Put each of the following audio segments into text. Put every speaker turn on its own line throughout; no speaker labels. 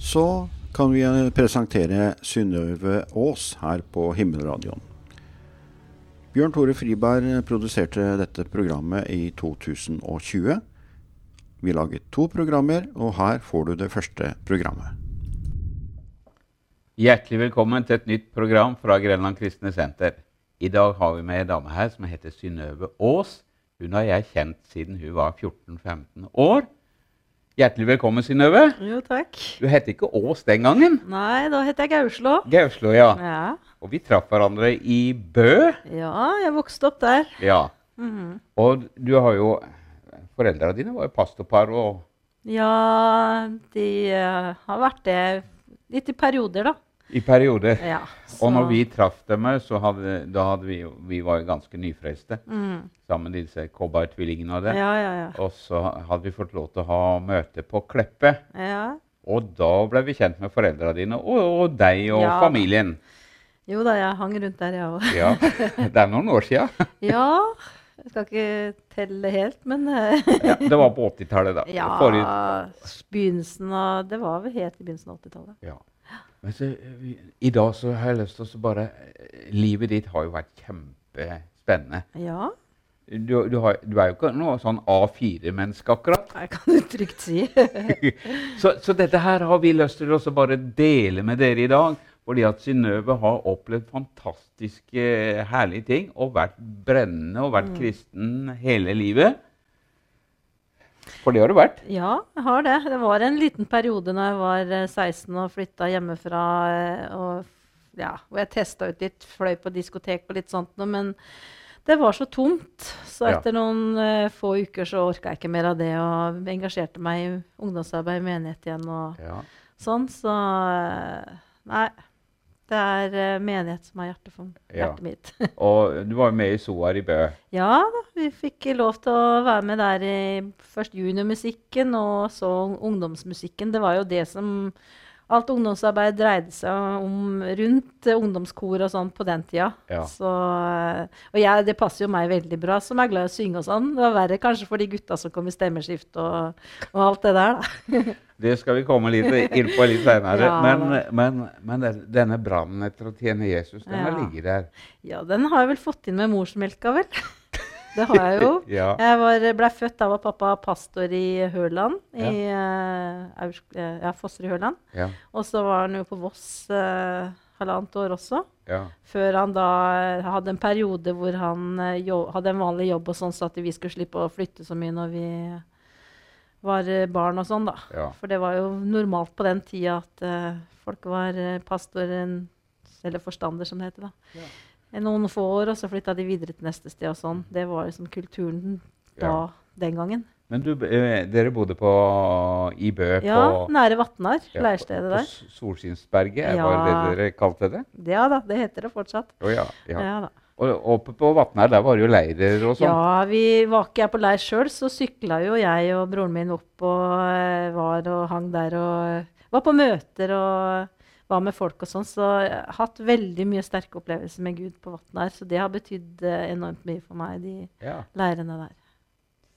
så kan vi eh, presentere Synnøve Aas her på Himmelradioen. Bjørn Tore Friberg produserte dette programmet i 2020. Vi laget to programmer, og her får du det første programmet.
Hjertelig velkommen til et nytt program fra Grenland Kristne Senter. I dag har vi med en dame her som heter Synnøve Aas. Hun har jeg kjent siden hun var 14-15 år. Hjertelig velkommen, Synnøve.
Jo, takk.
Du het ikke Aas den gangen.
Nei, da heter jeg Gauslo.
Gauslo, ja.
Ja.
Og vi traff hverandre i Bø.
ja, jeg vokste opp der.
Ja.
Mhm.
Og du har jo Foreldra dine var jo pastorpar og
Ja, de eh, har vært det litt i perioder, da.
i perioder.
Ja,
Og når
så-
vi traff dem, så hadde, da hadde vi, jo- vi var jo ganske nyfrelste
Mm.
sammen med disse cowboytvillingene og det.
Ja, ja, ja.
Og så hadde vi fått lov til å ha møte på Kleppe.
ja.
Og da ble vi kjent med foreldra dine og, og deg og
Ja.
familien.
Jo da, jeg hang rundt der, jeg òg.
Ja, Det er noen år sia.
Ja, jeg skal ikke telle helt, men eh,
Ja, det var på 80-tallet, da. Forrige-
Ja, begynnelsen av Det var vel helt i begynnelsen av 80-tallet.
ja. Men så, vi- I dag så har jeg lyst til å så bare Livet ditt har jo vært kjempespennende.
Ja,
Du, du, har, du er jo ikke noe sånn A4-menneske akkurat.
det kan du trygt si.
Så, så dette her har vi lyst til å også bare dele med dere i dag. Fordi at Synnøve har opplevd fantastiske, herlige ting og vært brennende og
Mm.
vært kristen hele livet. For det har du vært.
Ja, jeg har det. Det var en liten periode når jeg var eh, 16 og flytta hjemmefra. eh, Og, f- ja, hvor jeg testa ut litt, fløy på diskotek og litt sånt noe. Men det var så tomt. Så
Ja.
etter noen eh, få uker så orka jeg ikke mer av det. Og engasjerte meg i ungdomsarbeid i menighet igjen og
Ja.
sånn. Så eh, nei. Det er eh, menighet som er hjertet, for,
Ja.
hjertet mitt.
Og du var jo med i SOAR i Bø.
Ja da, vi fikk lov til å være med der i først juniormusikken og så ungdomsmusikken. Det var jo det som alt ungdomsarbeid dreide seg om rundt eh, ungdomskor og sånn på den tida.
Ja.
Så, eh, og jeg, det passer jo meg veldig bra, som er glad i å synge og sånn. Det var verre kanskje for de gutta som kom i stemmeskift og, og alt det der, da.
Det skal vi komme litt inn på litt senere.
Ja,
men, men, men den- denne brannen etter å tjene Jesus, den har
Ja.
ligget der.
Ja, den har jeg vel fått inn med morsmelka, vel. Det har jeg jo.
Ja.
Jeg var, ble født da var pappa pastor i Hørland,
Ja.
i eh, Aursk- eh, ja, Foster i Hørland.
Ja.
Og så var han jo på Voss eh, halvannet år også.
ja.
Før han da eh, hadde en periode hvor han eh, jo, hadde en vanlig jobb og sånn, så at vi skulle slippe å flytte så mye når vi var eh, barn og sånn, da.
Ja.
For det var jo normalt på den tida at eh, folk var eh, pastoren, eller forstander som det heter, da.
Ja.
I Noen få år, og så flytta de videre til neste sted og sånn. Det var liksom kulturen da,
Ja.
den gangen.
Men du, eh, dere bodde på, i Bø
Ja,
på
nære Vatnar,
Ja,
leirstedet
på
der.
S- Solskinnsberget, var det
Ja.
det dere kalte det?
Ja da, det heter det fortsatt.
Å ja, ja.
Ja da.
Og oppe på Vatnar, der var det jo leirer og sånn.
Ja, vi var ikke jeg på leir sjøl, så sykla jo jeg og broren min opp og eh, var og hang der og eh, var på møter og var med folk og sånn. Så jeg har hatt veldig mye sterke opplevelser med Gud på Vatnar. Så det har betydd eh, enormt mye for meg, de
Ja.
leirene der.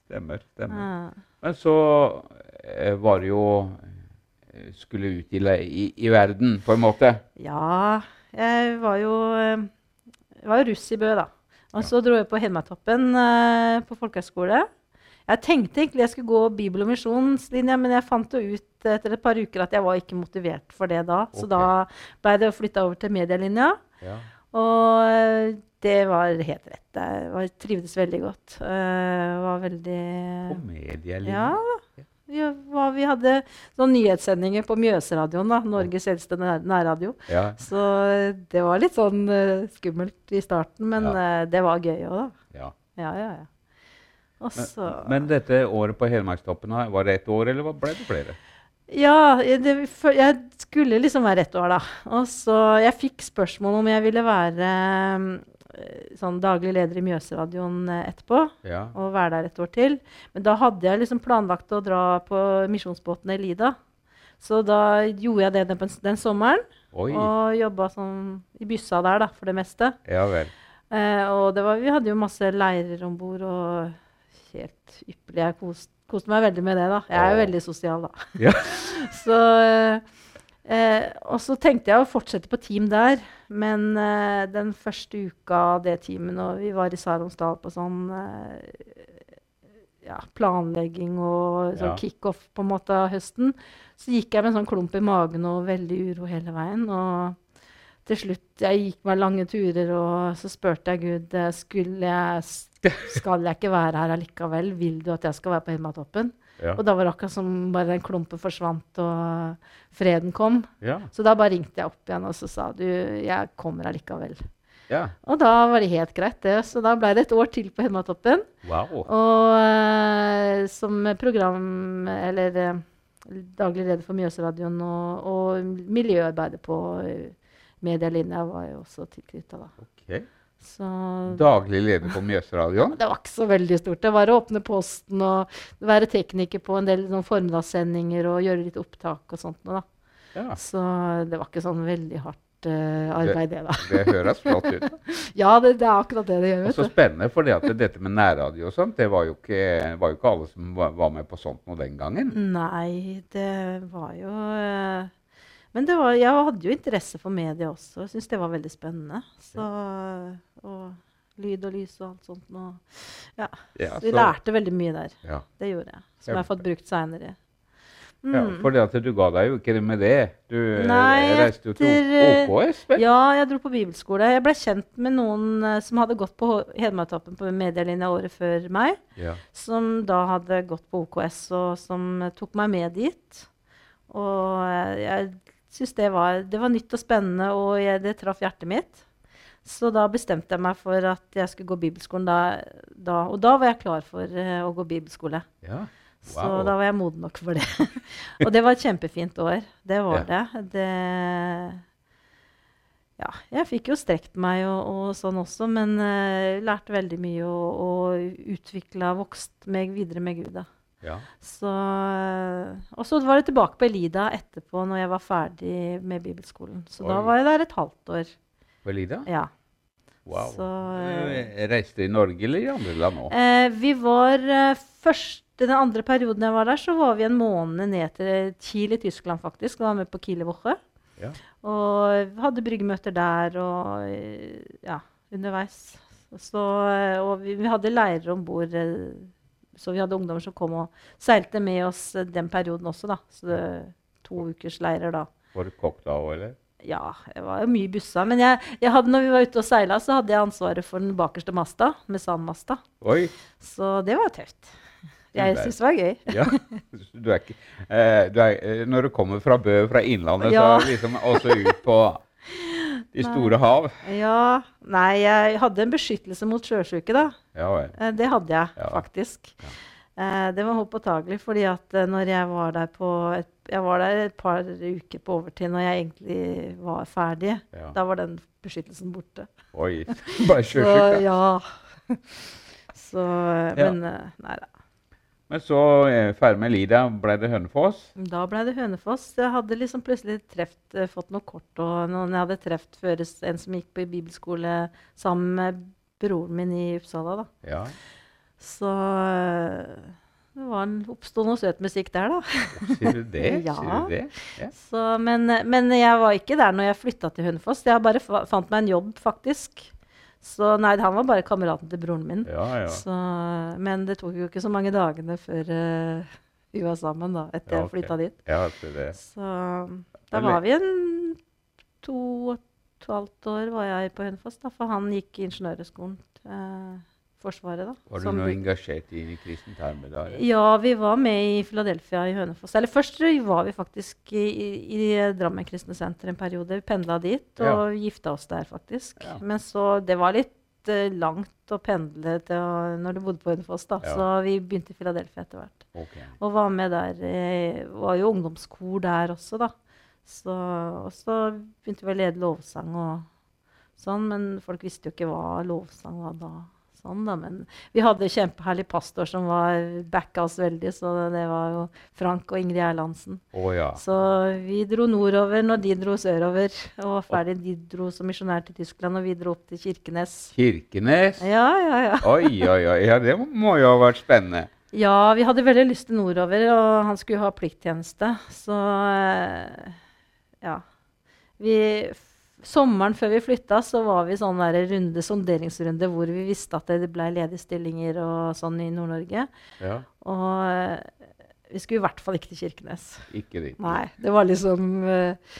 stemmer. stemmer.
Ja.
Men så eh, var det jo eh, Skulle ut i, le- i, i verden, på en måte.
Ja, jeg var jo, eh, jeg var jo russ i Bø, da. Og så dro jeg på Hedmarktoppen eh, på folkehøgskole. Jeg tenkte egentlig jeg skulle gå bibel- og misjonslinja, men jeg fant jo ut etter et par uker at jeg var ikke motivert for det da. Så
Ok.
da ble det flytta over til medielinja.
Ja.
Og eh, det var helt rett. Jeg var, trivdes veldig godt. Eh, var veldig
På medielinjen.
ja da. Vi, var, vi hadde noen nyhetssendinger på Mjøsradioen, da, Norges eldste nær- nærradio.
Ja.
Så det var litt sånn eh, skummelt i starten, men
Ja.
eh, det var gøy òg, da.
ja.
Ja, ja, ja. Og så
Men dette året på Hedmarkstoppen, her, var det ett år, eller var- ble det flere?
Ja, jeg- det, for jeg skulle liksom være ett år, da. Og så Jeg fikk spørsmål om jeg ville være eh, sånn daglig leder i Mjøsradioen eh, etterpå.
Ja.
Og være der et år til. Men da hadde jeg liksom planlagt å dra på misjonsbåten Elida. Så da gjorde jeg det den, den sommeren.
Oi.
Og jobba sånn i byssa der, da, for det meste.
Ja vel.
Eh, og det var, vi hadde jo masse leirer om bord, og helt ypperlig. Jeg kost, koste meg veldig med det, da. Jeg er jo
Åh.
veldig sosial, da.
Ja.
Så eh, Eh, og så tenkte jeg å fortsette på team der, men eh, den første uka av det teamet når vi var i Saronsdal på sånn eh, ja, planlegging og
Ja.
sånn kickoff på en måte av høsten, så gikk jeg med en sånn klump i magen og veldig uro hele veien. Og til slutt jeg gikk meg lange turer, og så spurte jeg Gud eh, skulle jeg, s- skal jeg ikke være her allikevel. Vil du at jeg skal være på Hemmatoppen?
Ja.
Og da var det akkurat som bare den klumpen forsvant, og freden kom.
Ja.
Så da bare ringte jeg opp igjen og så sa du, jeg kommer allikevel.
ja.
Og da var det helt greit, det. Så da ble det et år til på Hemmatoppen.
Wow.
Og eh, som program, eller eh, daglig leder for Mjøsradioen og, og miljøarbeidet på eh, medielinja var jeg også tilknytta da.
Ok.
Så
Daglig leder på Mjøsradioen.
det var ikke så veldig stort. Det var å åpne posten og være tekniker på en del sånn formiddagssendinger og gjøre litt opptak og sånt noe, da.
Ja.
Så det var ikke sånn veldig hardt eh, arbeid, det, da.
Det høres flott ut.
Ja, det, det er akkurat det det gjør.
Og
vet
så
du.
spennende, for det at dette med nærradio og sånt, det var jo ikke, var jo ikke alle som var, var med på sånt noe den gangen.
Mm. Nei, det var jo eh, Men det var, jeg hadde jo interesse for media også. Jeg syntes det var veldig spennende. Så, og lyd og lys og alt sånt. Og, ja.
Ja,
så vi
så-
lærte veldig mye der.
Ja.
Det gjorde jeg. Som jeg har fått brukt seinere.
Ja, for det at du ga deg jo ikke det med det. Du eh,
Mm. Nei,
reiste jo til
etter, eh,
OKS, vel?
Ja, jeg dro på bibelskole. Jeg ble kjent med noen eh, som hadde gått på H- Hedmarktoppen på medielinja året før meg.
Ja.
som da hadde gått på OKS, og som eh, tok meg med dit. Og eh, jeg syntes det var, det var nytt og spennende, og jeg, det traff hjertet mitt. Så da bestemte jeg meg for at jeg skulle gå bibelskolen da. da og da var jeg klar for eh, å gå bibelskole.
Ja.
Så
Wow.
da var jeg moden nok for det. og det var et kjempefint år. Det var det. det. Ja, jeg fikk jo strekt meg og, og sånn også, men eh, lærte veldig mye og, og utvikla, vokst meg videre med Gud. da.
Ja.
Så, eh, og så var det tilbake på Elida etterpå, når jeg var ferdig med bibelskolen. Så da
Oi.
var jeg der et halvt år.
Valida?
Ja.
Wow.
så, eh,
Eh, Reiste i Norge eller i andre land òg?
Eh, vi var eh, først, Den andre perioden jeg var der, så var vi en måned ned til Kiel i Tyskland, faktisk. og Var med på Kielewoche.
Ja.
Og vi hadde bryggemøter der og eh, ja, underveis. Så, eh, og vi, vi hadde leirer om bord. eh, Så vi hadde ungdommer som kom og seilte med oss eh, den perioden også. da. Så det, to ukers leirer da.
For Kokta òg, eller?
Ja, jeg var jo mye bussa. Men jeg, jeg hadde, når vi var ute og seila, så hadde jeg ansvaret for den bakerste masta, med sandmasta.
Oi!
Så det var tøft. Jeg
verden.
syns det var gøy.
Ja. Du er ikke, eh, du er, eh, når du kommer fra Bø, fra Innlandet,
Ja.
så liksom også ut på de store hav.
Ja, Nei, jeg hadde en beskyttelse mot sjøsjuke, da.
Ja vel.
Eh, Det hadde jeg
Ja.
faktisk. Eh, Det var påtagelig, fordi at eh, når jeg var der på et, jeg var der et par uker på overtid når jeg egentlig var ferdig,
Ja.
da var den beskyttelsen borte.
Oi. Bare
Så
sjøsjukt, ja.
ja. Så, eh,
Ja.
men eh, nei da.
Men så eh, ferdig med Lida, ble det Hønefoss?
Da ble det Hønefoss. Jeg hadde liksom plutselig treft, eh, fått noe kort. Og noen jeg hadde treft før s- en som gikk på bibelskole sammen med broren min i Uppsala. da.
Ja.
Så eh, det var en, oppsto noe søt musikk der, da.
Sier du det?
Ja.
Sier du det? Ja.
Så, men, men jeg var ikke der når jeg flytta til Hønefoss. Jeg bare fa fant meg en jobb, faktisk. Så nei, han var bare kameraten til broren min.
ja, ja.
Så, eh, men det tok jo ikke så mange dagene før eh, vi var sammen, da, etter
Ja,
jeg
ok.
flytta dit.
Ja, altså det.
Så da
Men le-
var vi en to og et halvt år var jeg på Hønefoss, da, for han gikk i ingeniørhøgskolen. Eh, forsvaret, da.
Var du
som
noe
by-
engasjert i kristent arbeid da? eller?
Ja, vi var med i Philadelphia i Hønefoss. Eller først var vi faktisk i, i, i Drammen kristne senter en periode. Vi pendla dit og gifta oss der, faktisk.
Ja.
Men så Det var litt eh, langt å pendle til, å- når du bodde på Hønefoss, da.
Ja.
Så vi begynte i Philadelphia etter hvert.
Ok.
Og var med der. eh, Var jo ungdomskor der også, da. Så, og så begynte vi å lede lovsang og sånn, men folk visste jo ikke hva lovsang var da. Sånn da, men vi hadde kjempeherlig pastor som var backa oss veldig, så det var jo Frank og Ingrid Erlandsen.
Å ja.
Så vi dro nordover når de dro sørover. Og var ferdig, de dro som misjonær til Tyskland, og vi dro opp til Kirkenes.
Kirkenes?
Ja, ja, ja.
Oi, oi, oi. Ja, det må jo ha vært spennende.
Ja, vi hadde veldig lyst til nordover, og han skulle ha plikttjeneste. Så eh, ja. Vi, f- sommeren før vi flytta, så var vi i sånn der runde, sonderingsrunde hvor vi visste at det ble ledige stillinger og sånn i Nord-Norge.
Ja,
Og eh, vi skulle i hvert fall ikke til Kirkenes.
ikke riktig.
Nei, det var liksom eh,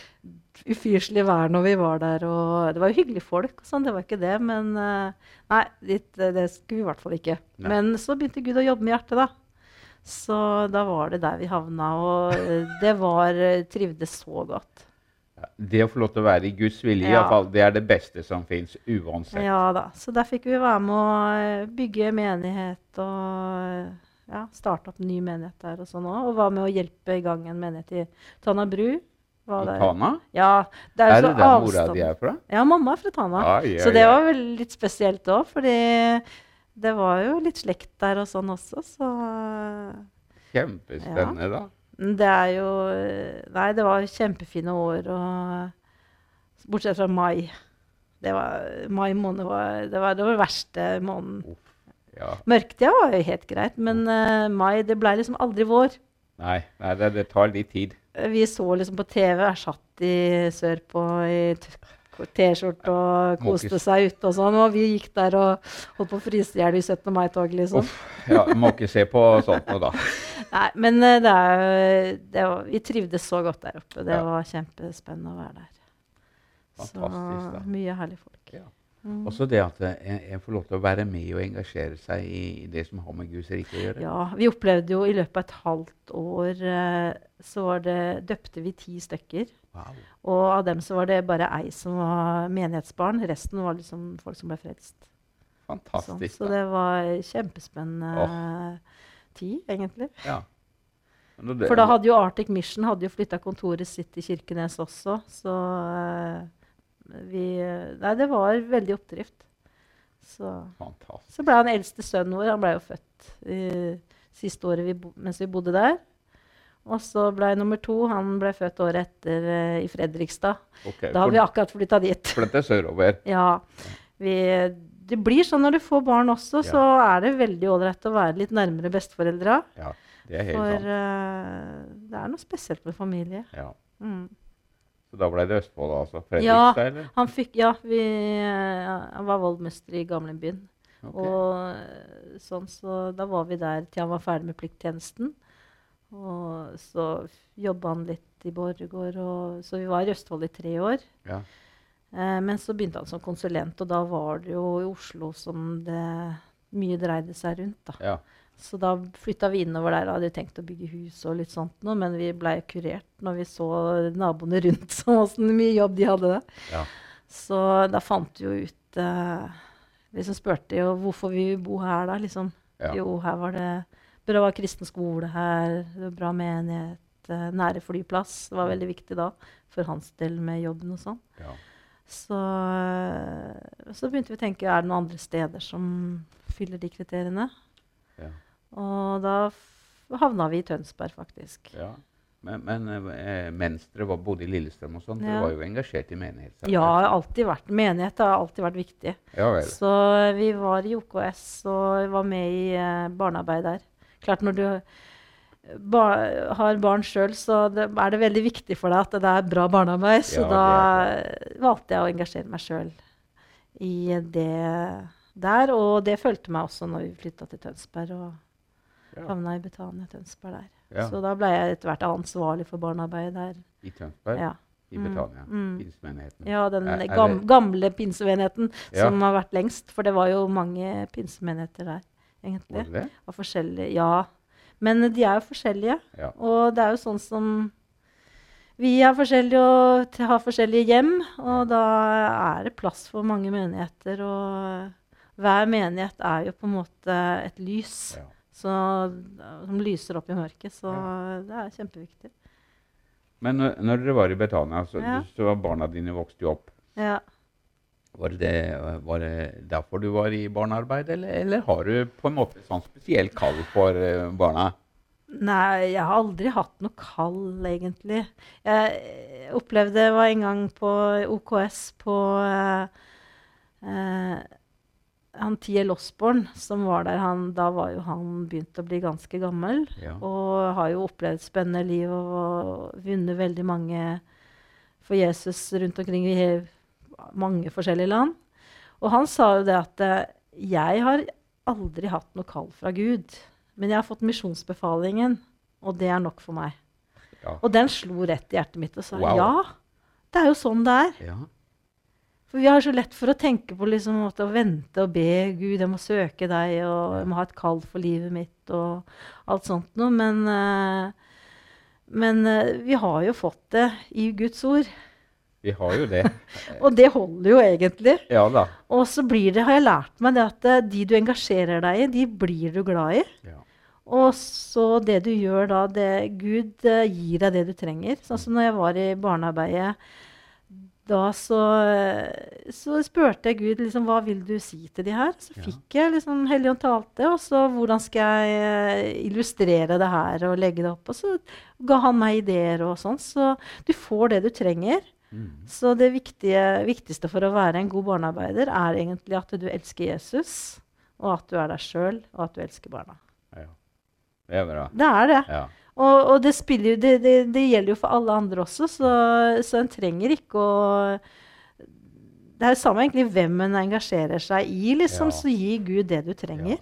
ufyselig vær når vi var der. Og det var jo hyggelige folk, og sånn, det var ikke det. Men eh, nei, dit, eh, det skulle vi i hvert fall ikke.
Nei.
Men så begynte Gud å jobbe med hjertet, da. Så da var det der vi havna. Og eh, det var eh, Trivdes så godt.
Ja, Det å få lov til å være i Guds vilje, i
Ja.
alle fall, det er det beste som fins uansett.
Ja da. Så der fikk vi være med å eh, bygge menighet og eh, ja, starte opp en ny menighet der og sånn òg. Og var med å hjelpe i gang en menighet i Tana Bru. Var
I
der.
Tana?
Ja, det er,
Er
jo
det
så
der mora
avstand.
di er fra?
Ja, mamma er fra Tana.
Ai, ai,
så det
ai.
var vel litt spesielt òg, fordi det var jo litt slekt der og sånn også, så
Kjempespennende, da.
Men mm, Det er jo Nei, det var kjempefine år, og bortsett fra mai. Det var, mai måned var det, var det var verste måneden.
Ja.
Mørketida var jo helt greit, men eh, mai det ble liksom aldri vår.
Nei, nei det, det tar litt tid.
Vi så liksom på TV, er satt i sørpå i t- T-skjorte og
Må ikke
koste seg ute og sånn. Og vi gikk der og holdt på å fryse i hjel i 17. mai-toget, liksom.
Uff. Ja, må ikke se på sånt noe, da.
Nei, men eh, det er jo det var, Vi trivdes så godt der oppe. Det
Ja.
var kjempespennende å være der.
Fantastisk, da.
så mye herlige folk.
Ja. Også det at eh, en, en får lov til å være med og engasjere seg i det som har med Guds rike å gjøre.
Ja, vi opplevde jo i løpet av et halvt år eh, så var det, døpte vi ti stykker.
Wow.
Og av dem så var det bare ei som var menighetsbarn. Resten var liksom folk som ble frelst. Sånn.
Fantastisk.
Så
da.
det var kjempespennende tid, egentlig.
Ja. Men det-
For da hadde jo Arctic Mission hadde jo flytta kontoret sitt til Kirkenes også, så eh, vi Nei, det var veldig oppdrift. Så,
Fantastisk.
så ble han eldste sønnen vår. Han blei jo født eh, siste året vi bo, mens vi bodde der. Og så blei nummer to Han blei født året etter eh, i Fredrikstad.
Ok,
Da
for-
hadde vi akkurat flytta dit.
For dette er sørover.
Ja. Vi, det blir sånn når du får barn også,
Ja.
så er det veldig ålreit å være litt nærmere besteforeldra.
Ja, det er helt
For
sant.
eh, det er noe spesielt med familie.
Ja.
Mm.
Så da ble det Østfold, altså?
Ja.
Fredrikstad, eller?
Han fikk, ja, vi, eh, han var voldmester i gamlebyen.
Ok.
Og eh, sånn, så da var vi der til han var ferdig med plikttjenesten. Og så jobba han litt i Borregaard, og så vi var i Østfold i tre år.
Ja.
Eh, men så begynte han som konsulent, og da var det jo i Oslo som det mye dreide seg rundt. da.
ja.
Så da flytta vi innover der. Hadde jo tenkt å bygge hus og litt sånt noe, men vi blei kurert når vi så naboene rundt som åssen mye jobb de hadde.
Ja.
Så da fant vi jo ut eh, Vi som spurte jo hvorfor vi vil bo her, da, liksom.
Ja.
Jo, her var det bra kristen skole her, det var bra menighet, eh, nære flyplass. Det var veldig viktig da for hans del med jobben og sånn.
ja.
Så, eh, så begynte vi å tenke er det noen andre steder som fyller de kriteriene.
ja.
Og da f- havna vi i Tønsberg, faktisk.
ja. Men, men eh, mens dere var, bodde i Lillestrøm og sånn, dere
Ja.
var jo engasjert i menighetsarbeid?
Ja, har alltid vært, menighet har alltid vært viktig.
Ja vel.
Så vi var i OKS og var med i eh, barnearbeid der. Klart når du ba har barn sjøl, så det, er det veldig viktig for deg at det er bra barnearbeid. Så
Ja, det er
da valgte jeg å engasjere meg sjøl i det der. Og det fulgte meg også når vi flytta til Tønsberg og
Ja.
havna i Betania Tønsberg der.
Ja.
Så da ble jeg etter hvert ansvarlig for barnearbeidet der.
I Tønsberg?
Ja.
I Betania?
mm.
Pinsemenigheten?
Ja, den
Er- er det-
gam gamle pinsemenigheten
Ja.
som har vært lengst. For det var jo mange pinsemenigheter der,
Var
egentlig.
det det?
Av forskjellige, ja. Men de er jo forskjellige.
Ja.
Og det er jo sånn som Vi er forskjellige og t- har forskjellige hjem. Og da er det plass for mange menigheter. Og hver menighet er jo på en måte et lys
ja.
så, som lyser opp i mørket. Så det er kjempeviktig.
Men når, når dere var i Betania, så,
Ja.
så var barna dine vokste jo opp.
Ja.
Var det, det, var det derfor du var i barnearbeid, eller, eller har du på en måte et sånn spesielt kall for eh, barna?
Nei, jeg har aldri hatt noe kall, egentlig. Jeg opplevde jeg var en gang på OKS på eh, eh, han Tiel Osborn som var der. Han, da var jo han begynt å bli ganske gammel.
Ja.
Og har jo opplevd spennende liv og, og vunnet veldig mange for Jesus rundt omkring i he- mange forskjellige land. Og han sa jo det at eh, jeg har aldri hatt noe kall fra Gud, men jeg har fått misjonsbefalingen, og det er nok for meg.
Ja.
Og den slo rett i hjertet mitt og sa
Wow.
ja, det er jo sånn det er.
Ja.
For vi har så lett for å tenke på liksom, at å vente og be Gud, jeg må søke deg, og jeg må ha et kall for livet mitt, og alt sånt noe. Men, eh, men eh, vi har jo fått det i Guds ord.
Vi har jo det.
Og det holder jo egentlig.
Ja da.
Og så blir det, har jeg lært meg det at eh, de du engasjerer deg i, de blir du glad i.
Ja.
Og så det du gjør da, det Gud eh, gir deg det du trenger. Sånn som når jeg var i barnearbeidet, da så, eh, så spurte jeg Gud liksom, hva vil du si til de her. Så
Ja.
fikk jeg liksom Helligånd talte, og så hvordan skal jeg eh, illustrere det her og legge det opp. Og så ga han meg ideer og sånn. Så du får det du trenger.
Mm.
Så det viktige, viktigste for å være en god barnearbeider er egentlig at du elsker Jesus, og at du er deg sjøl, og at du elsker barna.
ja. Det er bra.
Det er det.
Ja.
Og, og det, spiller, jo- det, det, det gjelder jo for alle andre også, så, så en trenger ikke å Det er jo samme egentlig hvem en engasjerer seg i, liksom,
Ja.
så gi Gud det du trenger.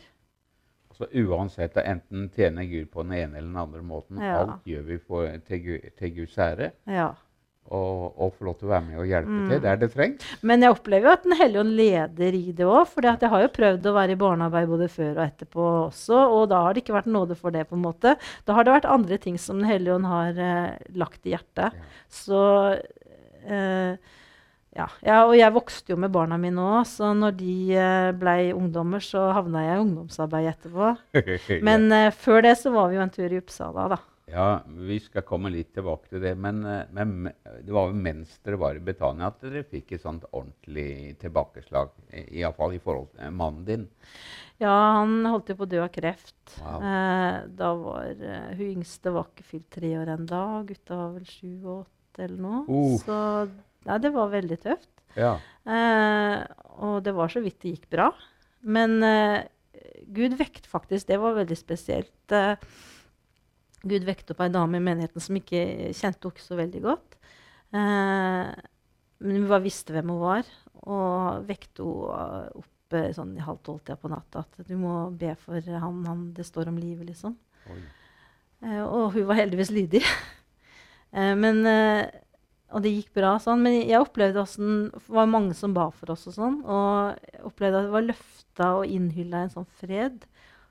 Så uansett, enten tjener Gud på den ene eller den andre måten,
Ja.
alt gjør vi for, til, Gu- til Guds ære.
Ja.
Og, og få lov til å være med og hjelpe
Mm.
til der det trengs.
Men jeg opplever jo at Den hellige ånd leder i det òg. For jeg har jo prøvd å være i barnearbeid både før og etterpå også, og da har det ikke vært nåde for det. på en måte. Da har det vært andre ting som Den hellige ånd har eh, lagt i hjertet.
Ja.
Så eh, ja. ja. Og jeg vokste jo med barna mine òg, så når de eh, blei ungdommer, så havna jeg i ungdomsarbeid etterpå. Men eh, før det så var vi jo en tur i Uppsala, da.
Ja, vi skal komme litt tilbake til det. Men, eh, men me- det var jo mens dere var i Betania at dere fikk et sånt ordentlig tilbakeslag. Iallfall i forhold til eh, mannen din.
Ja, han holdt jo på å dø av kreft.
Wow.
Eh, da var eh, Hun yngste var ikke fylt tre år ennå. Gutta var vel sju og åtte eller noe.
Uff.
Så nei, det var veldig tøft.
Ja.
Eh, og det var så vidt det gikk bra. Men eh, Gud vekte faktisk Det var veldig spesielt. Eh, Gud vekte opp ei dame i menigheten som ikke kjente henne så veldig godt. Eh, men vi bare visste hvem hun var, og vekte henne opp eh, sånn i halv tolv-tida på natta at du må be for han, han det står om livet, liksom.
Oi.
Eh, og hun var heldigvis lydig. eh, men, eh, og det gikk bra sånn. Men jeg opplevde åssen Det var mange som ba for oss og sånn. Og jeg opplevde at det var løfta og innhylla i en sånn fred.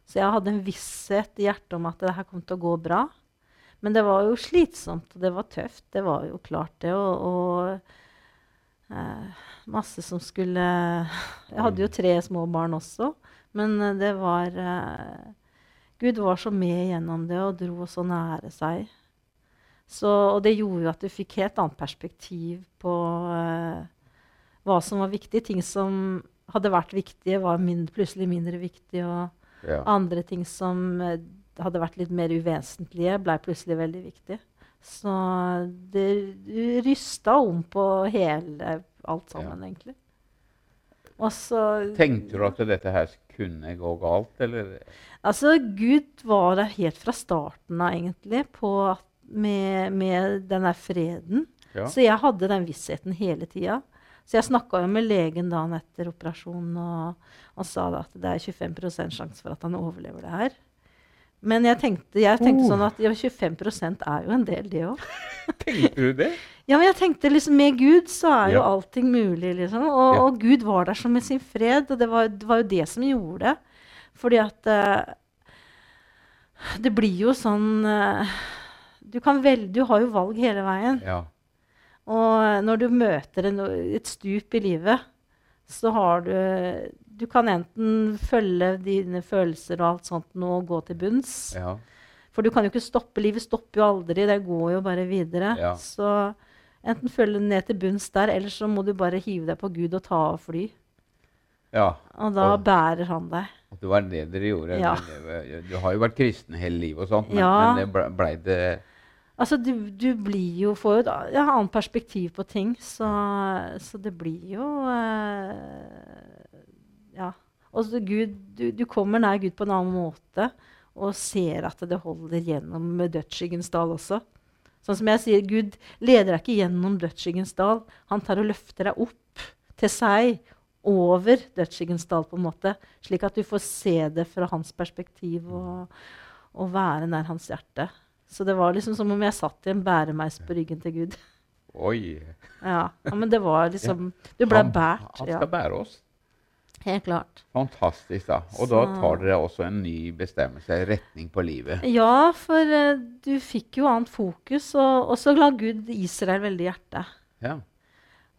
Så jeg hadde en visshet i hjertet om at det her kom til å gå bra. Men det var jo slitsomt, og det var tøft. Det var jo klart, det. Og, og eh, masse som skulle Jeg hadde jo tre små barn også, men eh, det var eh, Gud var så med gjennom det og dro så nære seg. Så, og det gjorde jo at du fikk helt annet perspektiv på eh, hva som var viktig. Ting som hadde vært viktige, var min, plutselig mindre viktige. Og
Ja.
andre ting som eh, hadde vært litt mer uvesentlige, blei plutselig veldig viktig. Så det rysta om på hele alt sammen, egentlig. Og så
Tenkte du at dette her kunne gå galt, eller?
Altså, Gud var der helt fra starten av, egentlig, på, at- med, med den der freden.
Ja.
Så jeg hadde den vissheten hele tida. Så jeg snakka jo med legen dagen etter operasjonen, og han sa da at det er 25 sjanse for at han overlever det her. Men jeg tenkte, jeg tenkte
Oh.
sånn at ja, 25 er jo en del, det òg.
Tenkte du det?
Ja, men jeg tenkte liksom, med Gud så er jo
Ja.
allting mulig, liksom. Og,
Ja.
og Gud var der som med sin fred, og det var, det var jo det som gjorde det. Fordi at eh, det blir jo sånn eh, du, kan vel, du har jo valg hele veien.
Ja.
Og når du møter en, et stup i livet, så har du Du kan enten følge dine følelser og alt sånt nå og gå til bunns.
ja.
For du kan jo ikke stoppe. Livet stopper jo aldri. Det går jo bare videre.
Ja.
Så enten følge den ned til bunns der, eller så må du bare hive deg på Gud og ta av fly.
ja.
Og da
Og-
bærer han deg.
At det var det dere gjorde.
Ja.
Men det- Du har jo vært kristen hele livet, og sånt, men,
Ja.
men det ble, ble det
Altså, du, du blir jo Får jo et a- ja, annet perspektiv på ting. Så, så det blir jo eh, Ja. Og så Gud, du, du kommer nær Gud på en annen måte og ser at det holder gjennom dødsskyggens dal også. Sånn som jeg sier, Gud leder deg ikke gjennom dødsskyggens dal. Han tar og løfter deg opp til seg, over dødsskyggens dal, på en måte. Slik at du får se det fra hans perspektiv og, og være nær hans hjerte. Så det var liksom som om jeg satt i en bæremeis på ryggen til Gud.
Oi.
Ja, ja Men det var liksom Du ble
han,
båret.
Han
Ja,
skal bære oss.
helt klart.
Fantastisk, da. Og da
Så-
tar dere også en ny bestemmelse, retning på livet.
Ja, for eh, du fikk jo annet fokus, og, og så la Gud Israel veldig i hjertet.
Ja.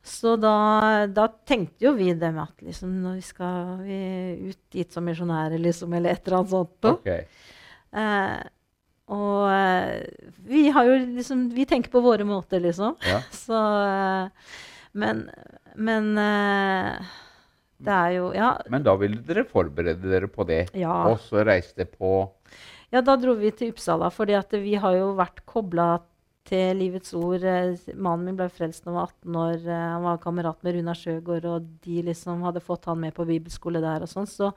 Så da, da tenkte jo vi det med at liksom, når vi skal vi ut dit som misjonærer, liksom, eller et eller annet sånt. noe.
Ok.
Eh, og eh, vi har jo liksom Vi tenker på våre måter, liksom.
Ja.
Så eh, Men, men eh, det er jo ja,
Men da ville dere forberede dere på det.
Ja.
Og så reiste på
Ja, da dro vi til Uppsala, fordi at vi har jo vært kobla til Livets Ord. Eh, Mannen min ble frelst da han var 18 år. Eh, Han var kamerat med Runar Sjøgaard, og de liksom hadde fått han med på bibelskole der og sånn. Så,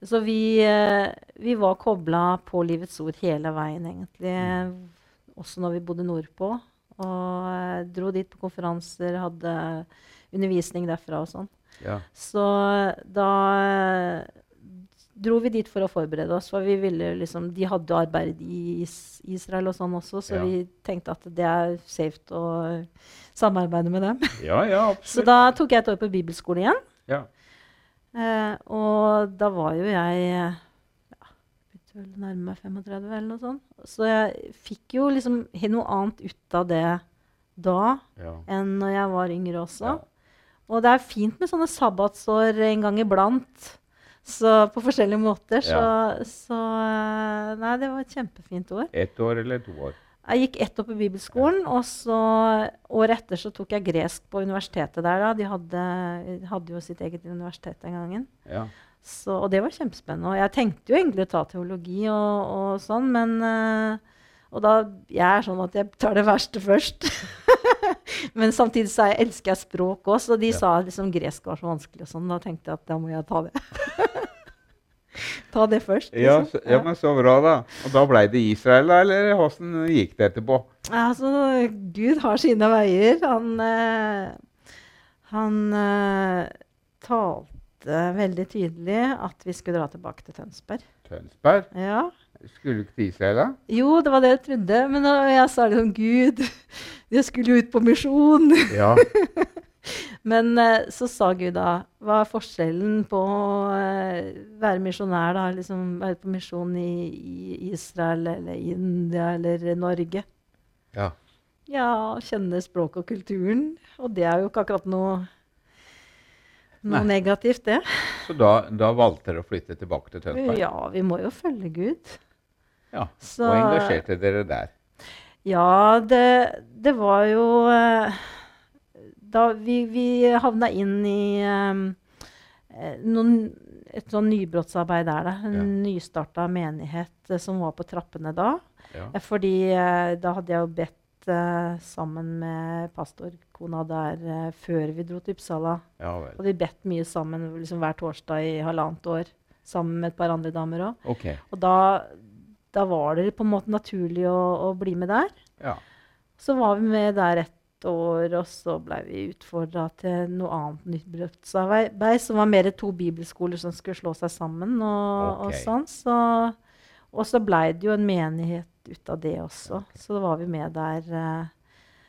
så vi, eh, vi var kobla på Livets Ord hele veien, egentlig. Også når vi bodde nordpå. Og eh, dro dit på konferanser, hadde undervisning derfra og sånn.
ja.
Så da dro vi dit for å forberede oss. For vi ville liksom, de hadde arbeid i Is- Israel og sånn også, så
Ja.
vi tenkte at det er safe å samarbeide med dem.
ja, ja,
Så
absolutt.
da tok jeg et år på bibelskole igjen.
Ja.
Eh, og da var jo jeg eh, ja, begynte vel å nærme meg 35 eller noe sånt. Så jeg fikk jo liksom he- noe annet ut av det da
Ja.
enn når jeg var yngre også.
Ja.
Og det er fint med sånne sabbatsår en gang iblant. Så på forskjellige måter. Så, så eh, Nei, det var et kjempefint år.
Ett år eller to år.
Jeg gikk ett år på bibelskolen, og så året etter så tok jeg gresk på universitetet der. da. De hadde, hadde jo sitt eget universitet den gangen.
Ja.
Så, og det var kjempespennende. Og jeg tenkte jo egentlig å ta teologi og, og sånn, men eh, Og da Jeg er sånn at jeg tar det verste først. men samtidig så er jeg, elsker jeg språk òg, så de
Ja.
sa liksom gresk var så vanskelig og sånn. Da tenkte jeg at da må jeg ta det. ta det først.
Ja,
liksom.
så, ja, men så bra, da. Og da blei det Israel, da? Eller åssen gikk det etterpå?
Ja, Altså, Gud har sine veier. Han, eh, han eh, talte veldig tydelig at vi skulle dra tilbake til Tønsberg.
Tønsberg?
Ja.
Skulle du ikke til Israel, da?
Jo, det var det jeg trodde. Men da jeg sa liksom Gud, jeg skulle jo ut på misjon.
Ja.
Men eh, så sa Gud da Hva er forskjellen på å eh, være misjonær, da? Liksom være på misjon i, i Israel eller India eller Norge?
ja.
Ja, kjenne språket og kulturen. Og det er jo ikke akkurat noe, noe negativt, det.
Så da, da valgte dere å flytte tilbake til Tønsberg?
Ja, vi må jo følge Gud.
Ja.
Så-
Og engasjerte dere der?
Ja, det, det var jo eh, Da vi, vi havna inn i eh, noen, et sånn nybrottsarbeid der, da. En
Ja.
nystarta menighet eh, som var på trappene da.
Ja.
Eh, Fordi eh, da hadde jeg jo bedt eh, sammen med pastorkona der eh, før vi dro til Uppsala.
ja vel.
Hadde vi bedt mye sammen liksom hver torsdag i halvannet år. Sammen med et par andre damer òg.
Ok.
Og da, da var det på en måte naturlig å, å bli med der.
Ja.
Så var vi med der ett år, og så blei vi utfordra til noe annet nytt brødsarbeid, som var mer to bibelskoler som skulle slå seg sammen.
Ok.
Og, og sånn. Så, og så blei det jo en menighet ut av det også. Så da var vi med der eh, ja,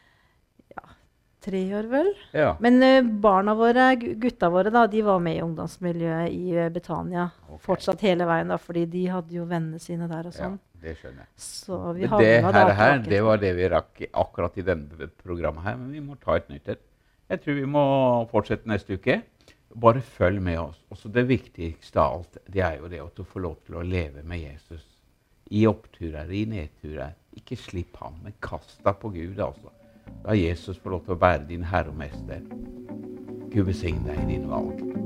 tre år, vel.
ja.
Men eh, barna våre, gu- gutta våre, da, de var med i ungdomsmiljøet i eh, Britannia.
Ok.
Fortsatt hele veien, da, fordi de hadde jo vennene sine der og
ja.
sånn.
Det skjønner jeg.
Så vi
Men det
havna
her,
da
her,
tilbake
det
til-
var det vi rakk i- akkurat i denne programmet her, men vi må ta et nytt et. Jeg tror vi må fortsette neste uke. Bare følg med oss. Også det viktigste av alt, det er jo det at du får lov til å leve med Jesus. I oppturer, i nedturer. Ikke slipp ham, men kast deg på Gud, altså. Da Jesus får lov til å være din herre og mester. Gud besigne deg i dine valg.